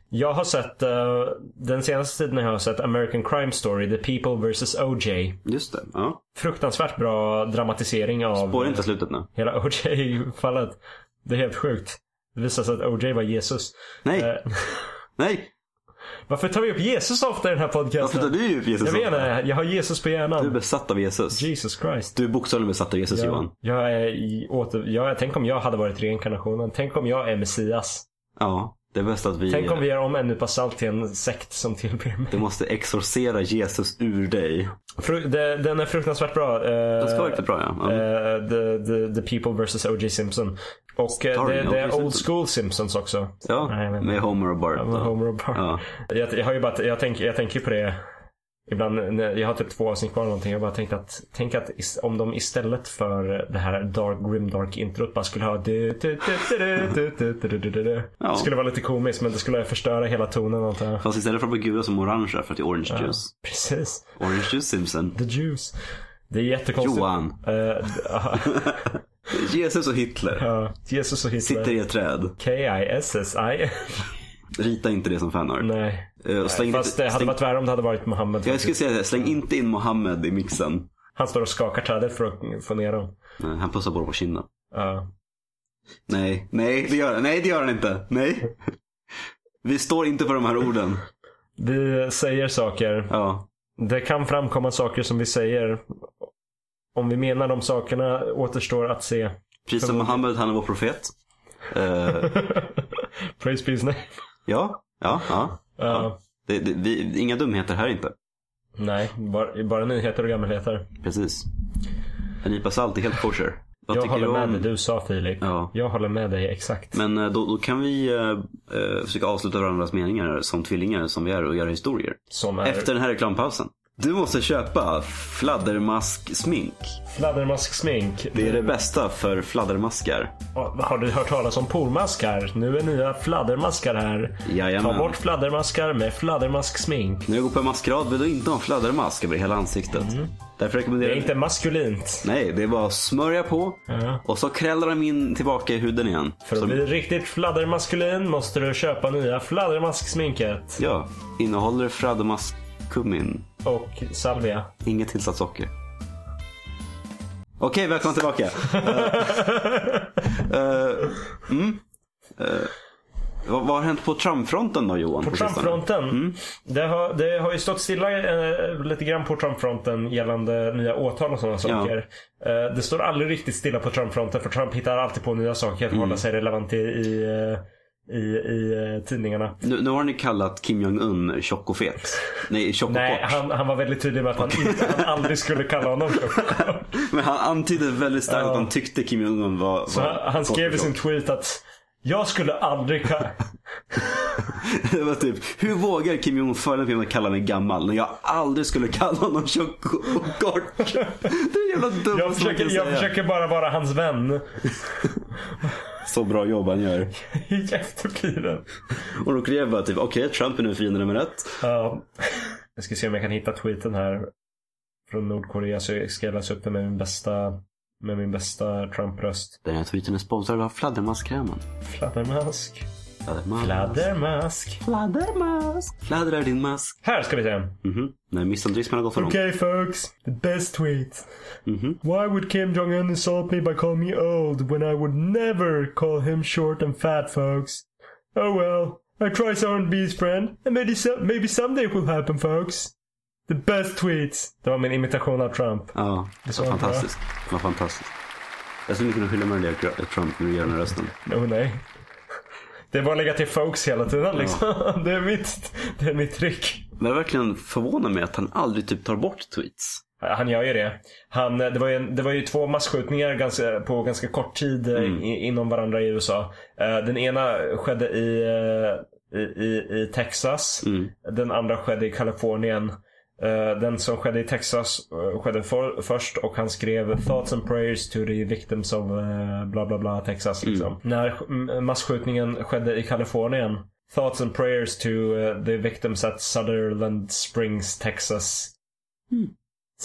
Jag har sett, eh, den senaste tiden har jag sett American Crime Story, The People vs OJ.
Just det. Ja.
Fruktansvärt bra dramatisering av
Spår inte slutet nu.
hela OJ-fallet. Det är helt sjukt. Det visar sig att OJ var Jesus.
Nej,
Eh,
nej!
varför tar vi upp Jesus ofta i den här
Varför tar
podcasten?
du upp Jesus?
Jag
också?
menar, jag har Jesus på
Du är
hjärnan.
besatt av Jesus.
Jesus Christ.
Du är bokstavligen besatt av Jesus Johan.
Jag är i åter... jag, tänk om jag hade varit reinkarnationen. Tänk om jag är Messias.
Ja, det är bäst att vi...
Tänk om vi gör om en nypa salt till en sekt som tillber mig.
Du måste exorcera Jesus ur dig.
Fru... de- Den är fruktansvärt bra. Eh,
Det ska vara riktigt bra ja. ja.
the, the, the People vs O.J. Simpson. Och eh,
Starring
det, det
O.J.
är
Simpson.
Old School Simpsons också. nej, jag
ja
vet
med Homer och Bart.
Med
då.
Homer och Bart.
Ja.
Jag, jag, har ju bara, jag, tänker, jag tänker på det ibland. när- Jag har typ två avsnitt kvar eller någonting. Jag bara tänkte att, tänk att is- om de istället för det här dark, grim dark introt bara skulle ha du, du, du, du, du, du, du, du, du, du, du.
Ja.
Det skulle vara lite komiskt men det skulle förstöra hela tonen antar jag.
Fast istället för att vara gula som orange för att det är orange juice.
Precis.
Orange juice Simpson.
The juice. Det är jättekonstigt.
Johan.
Eh, d- ja,
Jesus och Hitler.
ja. Jesus och
Sitter
Hitler.
i ett träd.
K-I-S-S-I.
Rita inte det som fanart.
Nej.
Eh, och släng
Fast
inte,
det hade
släng,
varit värre om det hade varit Muhammed.
jag skulle säga det, släng inte in Mohammed i mixen.
Han står och skakar trädet för att få ner dem.
Nej, Eh, han pussar på dem på kinden.
Ja.
Nej, nej det gör han, nej, det gör han inte. Nej. Vi står inte för de här orden.
Vi säger saker.
Ja,
Det kan framkomma saker som vi säger. Om vi menar de sakerna återstår att se.
Prisa Muhammed, han är vår profet. Eh,
Praise be his name.
ja, ja, ja.
Ja.
Det, det, vi, inga dumheter här inte.
Nej, bara, bara nyheter och gammelheter.
Precis. En nypa salt är helt kosher. Vad
Jag
tycker
håller
du
med
om-
det du sa Filip.
Ja.
Jag håller med dig exakt.
Men eh, då, då kan vi eh, eh, försöka avsluta varandras meningar som tvillingar som vi är och göra historier.
Som är
Efter den här reklampausen. Du måste köpa fladdermasksmink.
fladdermasksmink.
Det är det bästa för fladdermaskar.
Har du hört talas om pormaskar? Nu är nya fladdermaskar här.
Jajamän.
Ta bort fladdermaskar med fladdermasksmink.
När du går på en maskerad vill du inte ha en fladdermask över hela ansiktet. Därför rekommenderar
Mm. Det
jag...
är inte maskulint.
Nej, det är bara att smörja på
Ja.
och så krällar de in tillbaka i huden igen.
För att
Så-
bli riktigt fladdermaskulin måste du köpa nya fladdermasksminket.
Ja, innehåller fladdermask kummin.
Och salvia.
Inget tillsatt socker. Okej, välkomna tillbaka. Eh, eh, mm. Eh, vad, vad har hänt på Trumpfronten då Johan?
På
sistone?
Trumpfronten. Det, har, det har ju stått stilla eh, lite grann på Trumpfronten gällande nya åtal och sådana saker. Eh, det står aldrig riktigt stilla på Trumpfronten för Trump hittar alltid på nya saker för att hålla sig relevant i, i, eh, i, i eh, tidningarna.
Nu, nu har ni kallat Kim Jong-Un tjock och fet. Nej, tjock och
Nej,
kort.
han, han var väldigt tydlig med att han, inte, han aldrig skulle kalla honom tjock.
Men han antydde väldigt starkt att han tyckte Kim Jong-Un var, var
Så han, han
kort
skrev i
och
sin
tjock.
tweet att jag skulle aldrig ka-
Det var typ, hur vågar Kim Jong-Un föra mig att kalla mig gammal när jag aldrig skulle kalla honom tjock och kort? Det är jävla dumt
jag försöker, jag försöker bara vara hans vän.
Så bra jobb han gör.
I eftertiden.
Och då skrev bara typ, okej Trump är nu fiende nummer ett.
Ja. Jag ska se om jag kan hitta tweeten här. Från Nordkorea så jag ska jag läsa upp den med min bästa, med min bästa Trump-röst.
Den här tweeten är sponsrad av fladdermaskkrämen.
Fladdermask.
Fladdermask.
Fladdermask.
Fladdermask. Fladdrar din mask.
Här ska vi se.
Mhm. Nej, missanderismen har gått för långt.
Okay folks, the best tweet. Why would Kim Jong-Un insult me by calling me old when I would never call him short and fat folks? Oh well, I try R&B's friend and maybe, so- maybe someday it will happen folks. The best tweets. Det var min imitation av Trump.
Ja, det
så
var
bra.
fantastiskt. Det var fantastiskt. Jag skulle kunna skylla mig när det Trump när du gör den här rösten.
Åh nej. Det är bara att lägga till folks hela tiden liksom. Det, är mitt, det är mitt trick.
Men det verkligen förvånar mig att han aldrig typ tar bort tweets.
Han gör ju det. Han, eh, det, var ju en, det var ju två masskjutningar ganska, på ganska kort tid eh, i, inom varandra i USA. Eh, Den ena skedde i, eh, i, i, i Texas. Den andra skedde i Kalifornien. Eh, Den som skedde i Texas eh, skedde för, först och han skrev “Thoughts and prayers to the victims of eh, bla bla bla Texas”. Liksom. När sk- masskjutningen skedde i Kalifornien “Thoughts and prayers to eh, the victims at Sutherland Springs, Texas”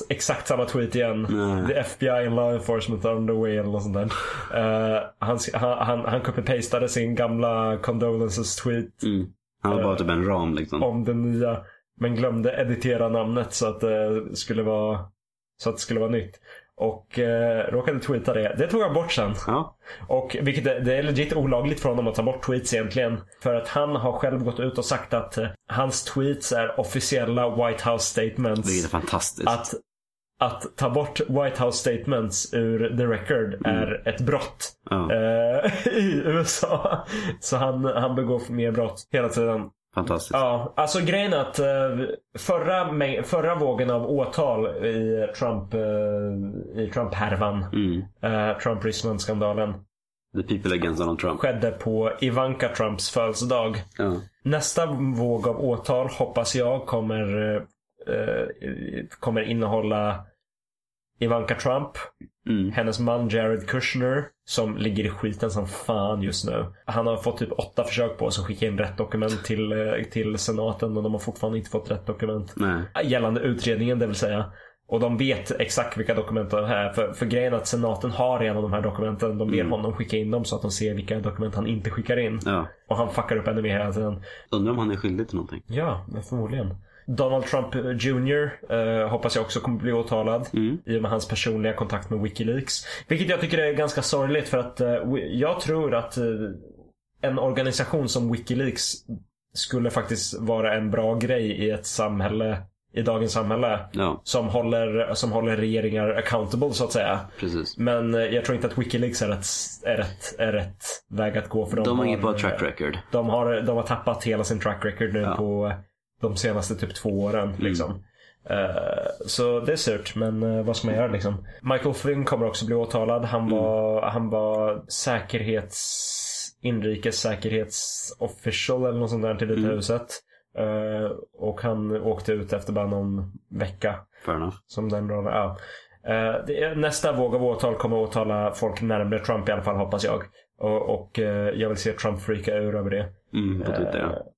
Exakt samma tweet igen.
Nej.
The FBI and law enforcement are on the way eller något sånt där. Eh, han han, han, han copy-pastade sin gamla condolences tweet
Mm. Han har bara typ en ram liksom.
om den nya. Men glömde editera namnet så att det skulle vara, så att det skulle vara nytt. Och eh, råkade tweeta det. Det tog han bort sen.
Ja.
Och vilket är, det är legit olagligt för honom att ta bort tweets egentligen. För att han har själv gått ut och sagt att eh, hans tweets är officiella White House statements
Vilket är fantastiskt.
att, att ta bort White House statements ur the record är ett brott
Ja.
eh, i USA. Så han, han begår mer brott hela tiden.
Fantastiskt.
Ja, alltså grejen är att eh, förra, mäng- förra vågen av åtal i Trump, eh, i Trump-härvan,
Mm.
eh, Trump-Ryssland-skandalen,
The people against Donald Trump.
skedde på Ivanka Trumps födelsedag.
Ja.
Nästa våg av åtal hoppas jag kommer, eh, eh, kommer innehålla Ivanka Trump,
Mm.
hennes man Jared Kushner, som ligger i skiten som fan just nu. Han har fått typ åtta försök på sig att skicka in rätt dokument till, eh, till senaten, men de har fortfarande inte fått rätt dokument.
Nej.
Gällande utredningen, det vill säga. Och de vet exakt vilka dokument det är. För, för grejen är att senaten har redan de här dokumenten. De ber honom skicka in dem så att de ser vilka dokument han inte skickar in.
Ja.
Och han fuckar upp ännu mer hela tiden.
Undrar om han är skyldig till någonting.
Ja, men förmodligen. Donald Trump Jr eh, hoppas jag också kommer bli åtalad
Mm.
i och med hans personliga kontakt med Wikileaks. Vilket jag tycker är ganska sorgligt för att eh, wi- jag tror att eh, en organisation som Wikileaks skulle faktiskt vara en bra grej i ett samhälle i dagens samhälle.
Ja,
Som håller, som håller regeringar accountable så att säga.
precis.
Men eh, jag tror inte att Wikileaks är rätt, är rätt, är rätt väg att gå. För de,
De har inget bra
eh,
track record.
De har, de har tappat hela sin track record nu
Ja.
på de senaste typ två åren. Liksom. Eh, så det är surt, men eh, vad ska man göra liksom? Michael Flynn kommer också bli åtalad. Han var, han var säkerhets... Inrikes säkerhetsofficial eller något sånt där till Vita huset. Eh, och han åkte ut efter bara någon vecka.
Fair enough.
Som den rollen, ja. Eh, det är- Nästa våg av åtal kommer att åtala folk närmare Trump i alla fall hoppas jag. Och, och eh, jag vill se Trump freaka ur över det.
Mm, på Twitter ja.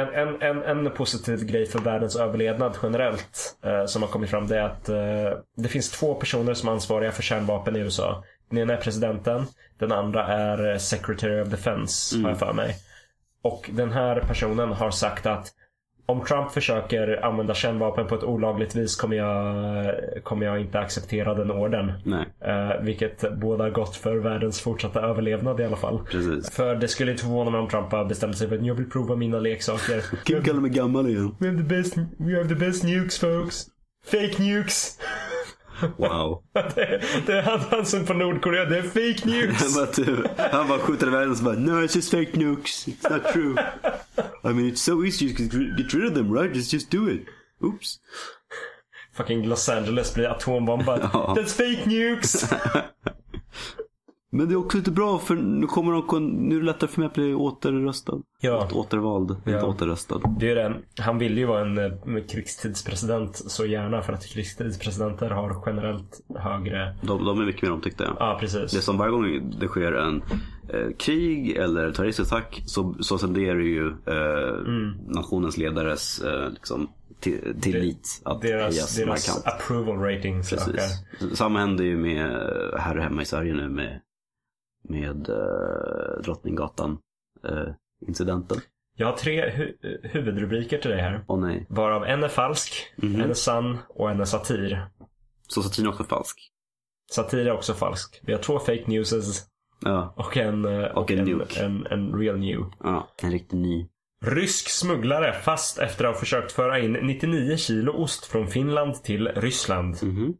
En, en, en, en positiv grej för världens överlevnad generellt eh, som har kommit fram det är att eh, det finns två personer som är ansvariga för kärnvapen i USA. Den ena är presidenten, den andra är eh, Secretary of Defense har jag för mig. Och den här personen har sagt att om Trump försöker använda kärnvapen på ett olagligt vis kommer jag, kommer jag inte acceptera den orden.
Nej,
Eh, vilket båda gott för världens fortsatta överlevnad i alla fall.
precis.
För det skulle inte förvåna mig om Trump har bestämt sig för att jag vill prova mina leksaker.
Kim kallar mig gammal igen.
We have the best, we have the best nukes folks. Fake nukes.
Wow.
Det, det är han, han som på Nordkorea. Det är fake
Han
nukes.
bara, typ, han bara skjuter iväg den och så bara No it's just fake nukes. It's not true. I mean it's so easy you can get rid of them right? Just, just do it. Oops.
Fucking Los Angeles blir atombombad.
Ja.
That's fake nukes.
Men det är också inte bra för nu kommer de, kon- nu är det lättare för mig att bli återröstad.
Ja.
Återvald, inte
Ja.
återröstad.
Det är ju den. Han vill ju vara en eh, krigstidspresident så gärna för att krigstidspresidenter har generellt högre...
De, de är mycket mer omtyckta. Ja.
Ja, precis.
Det är som varje gång det sker en eh, krig eller terroristattack så, så senderar ju eh,
Mm.
nationens ledares eh, liksom, ti- tillit att
Deras,
höjas
deras
markant.
approval ratings ökar.
Precis. Samma händer ju med eh, här hemma i Sverige nu med, med eh, Drottninggatan eh, incidenten.
Jag har tre hu- huvudrubriker till dig här.
Åh nej.
Varav en är falsk,
Mhm.
en är sann och en är satir.
Så satiren är också falsk.
Satir är också falsk. Vi har två fake newses
Ja.
och en, eh, och
en
en,
nuke.
en, en real new.
ja. En riktig ny.
Rysk smugglare fast efter att ha försökt föra in 99 kilo ost från Finland till Ryssland.
Mhm.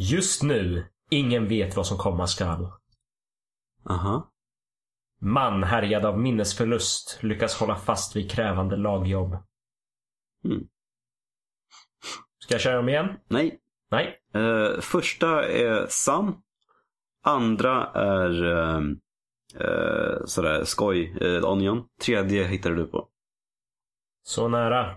Just nu, ingen vet vad som komma skall.
Aha.
Man härjad av minnesförlust lyckas hålla fast vid krävande lagjobb.
Mm.
Ska jag köra dem igen?
Nej.
Nej.
Eh, första är sann. Andra är eh, eh, sådär skoj, eh, onion. Tredje hittade du på.
Så nära.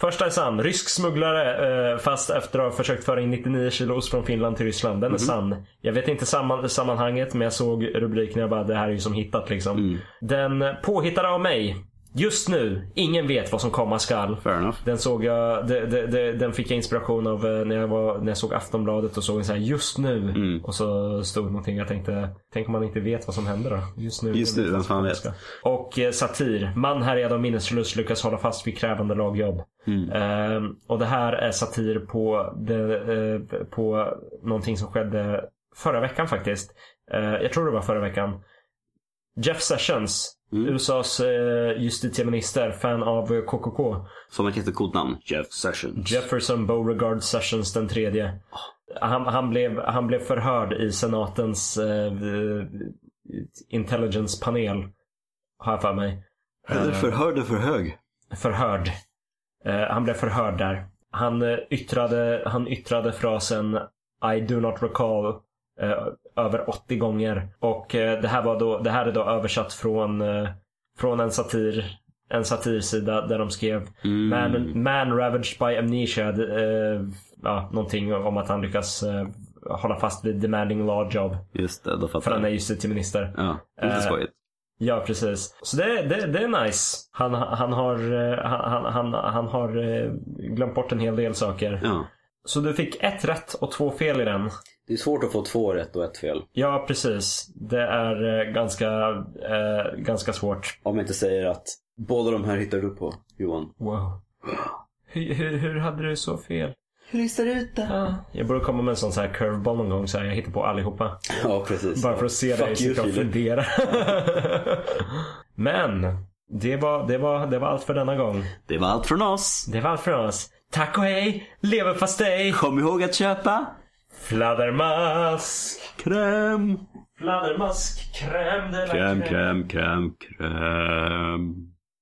Första är sann. Rysk smugglare eh, fast efter att ha försökt föra in 99 kilo ost från Finland till Ryssland. Den är sann. Jag vet inte samman- sammanhanget men jag såg rubriken och jag bara det här är ju som hittat liksom.
Mm.
Den påhittade av mig. Just nu. Ingen vet vad som komma skall.
Fair enough.
Den såg jag, de, de, de, den fick jag inspiration av eh, när jag, var, när jag såg Aftonbladet och såg en så här just nu.
Mm.
Och så stod det någonting jag tänkte, tänk om man inte vet vad som händer då? Just nu.
Just nu, vem fan vet.
Och eh, satir. Man härjad av minnesförlust lyckas hålla fast vid krävande lagjobb.
Mm.
Ehm, och det här är satir på, det, eh, på någonting som skedde förra veckan faktiskt. Eh, jag tror det var förra veckan. Jeff Sessions,
Mm.
USAs eh, justitieminister, fan av eh, KKK.
Som ett jättecoolt namn. Jeff Sessions.
Jefferson Beauregard Sessions den tredje. Han, han, blev, han blev förhörd i senatens eh, intelligence-panel. Har jag för mig.
Eller förhörde för hög.
Förhörd. Eh, han blev förhörd där. Han, eh, yttrade, han yttrade frasen I do not recall eh, över 80 gånger. Och eh, det, här var då, det här är då översatt från, eh, från en satir en satirsida där de skrev
Mm.
man, man ravaged by amnesia. d- Eh, ja, någonting om att han lyckas eh, hålla fast vid demanding law job.
Just det, då fattar
För han är
jag.
justitieminister.
Ja, lite
Eh,
skojigt.
Ja, precis. Så det, det, det är nice. Han, han, har, eh, han, han, han har eh, glömt bort en hel del saker.
Ja.
Så du fick ett rätt och två fel i den.
Det är svårt att få två rätt och ett fel.
Ja, precis. Det är eh, ganska, eh, ganska svårt.
Om jag inte säger att båda de här hittade du på, Johan.
Wow. Hur, hur, hur hade du så fel?
Hur listar du ut det?
Ah, Jag borde komma med en sån så här curveball någon gång så här, jag hittar på allihopa.
Ja, precis.
Bara för att se dig
Fuck you,
sitta och
Filip.
fundera. Men Det var, det, var, det var allt för denna gång.
Det var allt från oss.
Det var allt för oss. Tack och hej, leverpastej,
Kom ihåg att köpa
fladdermask.
kräm.
Fladdermask, crème de la
Kräm,
crème.
kräm, kräm, kräm.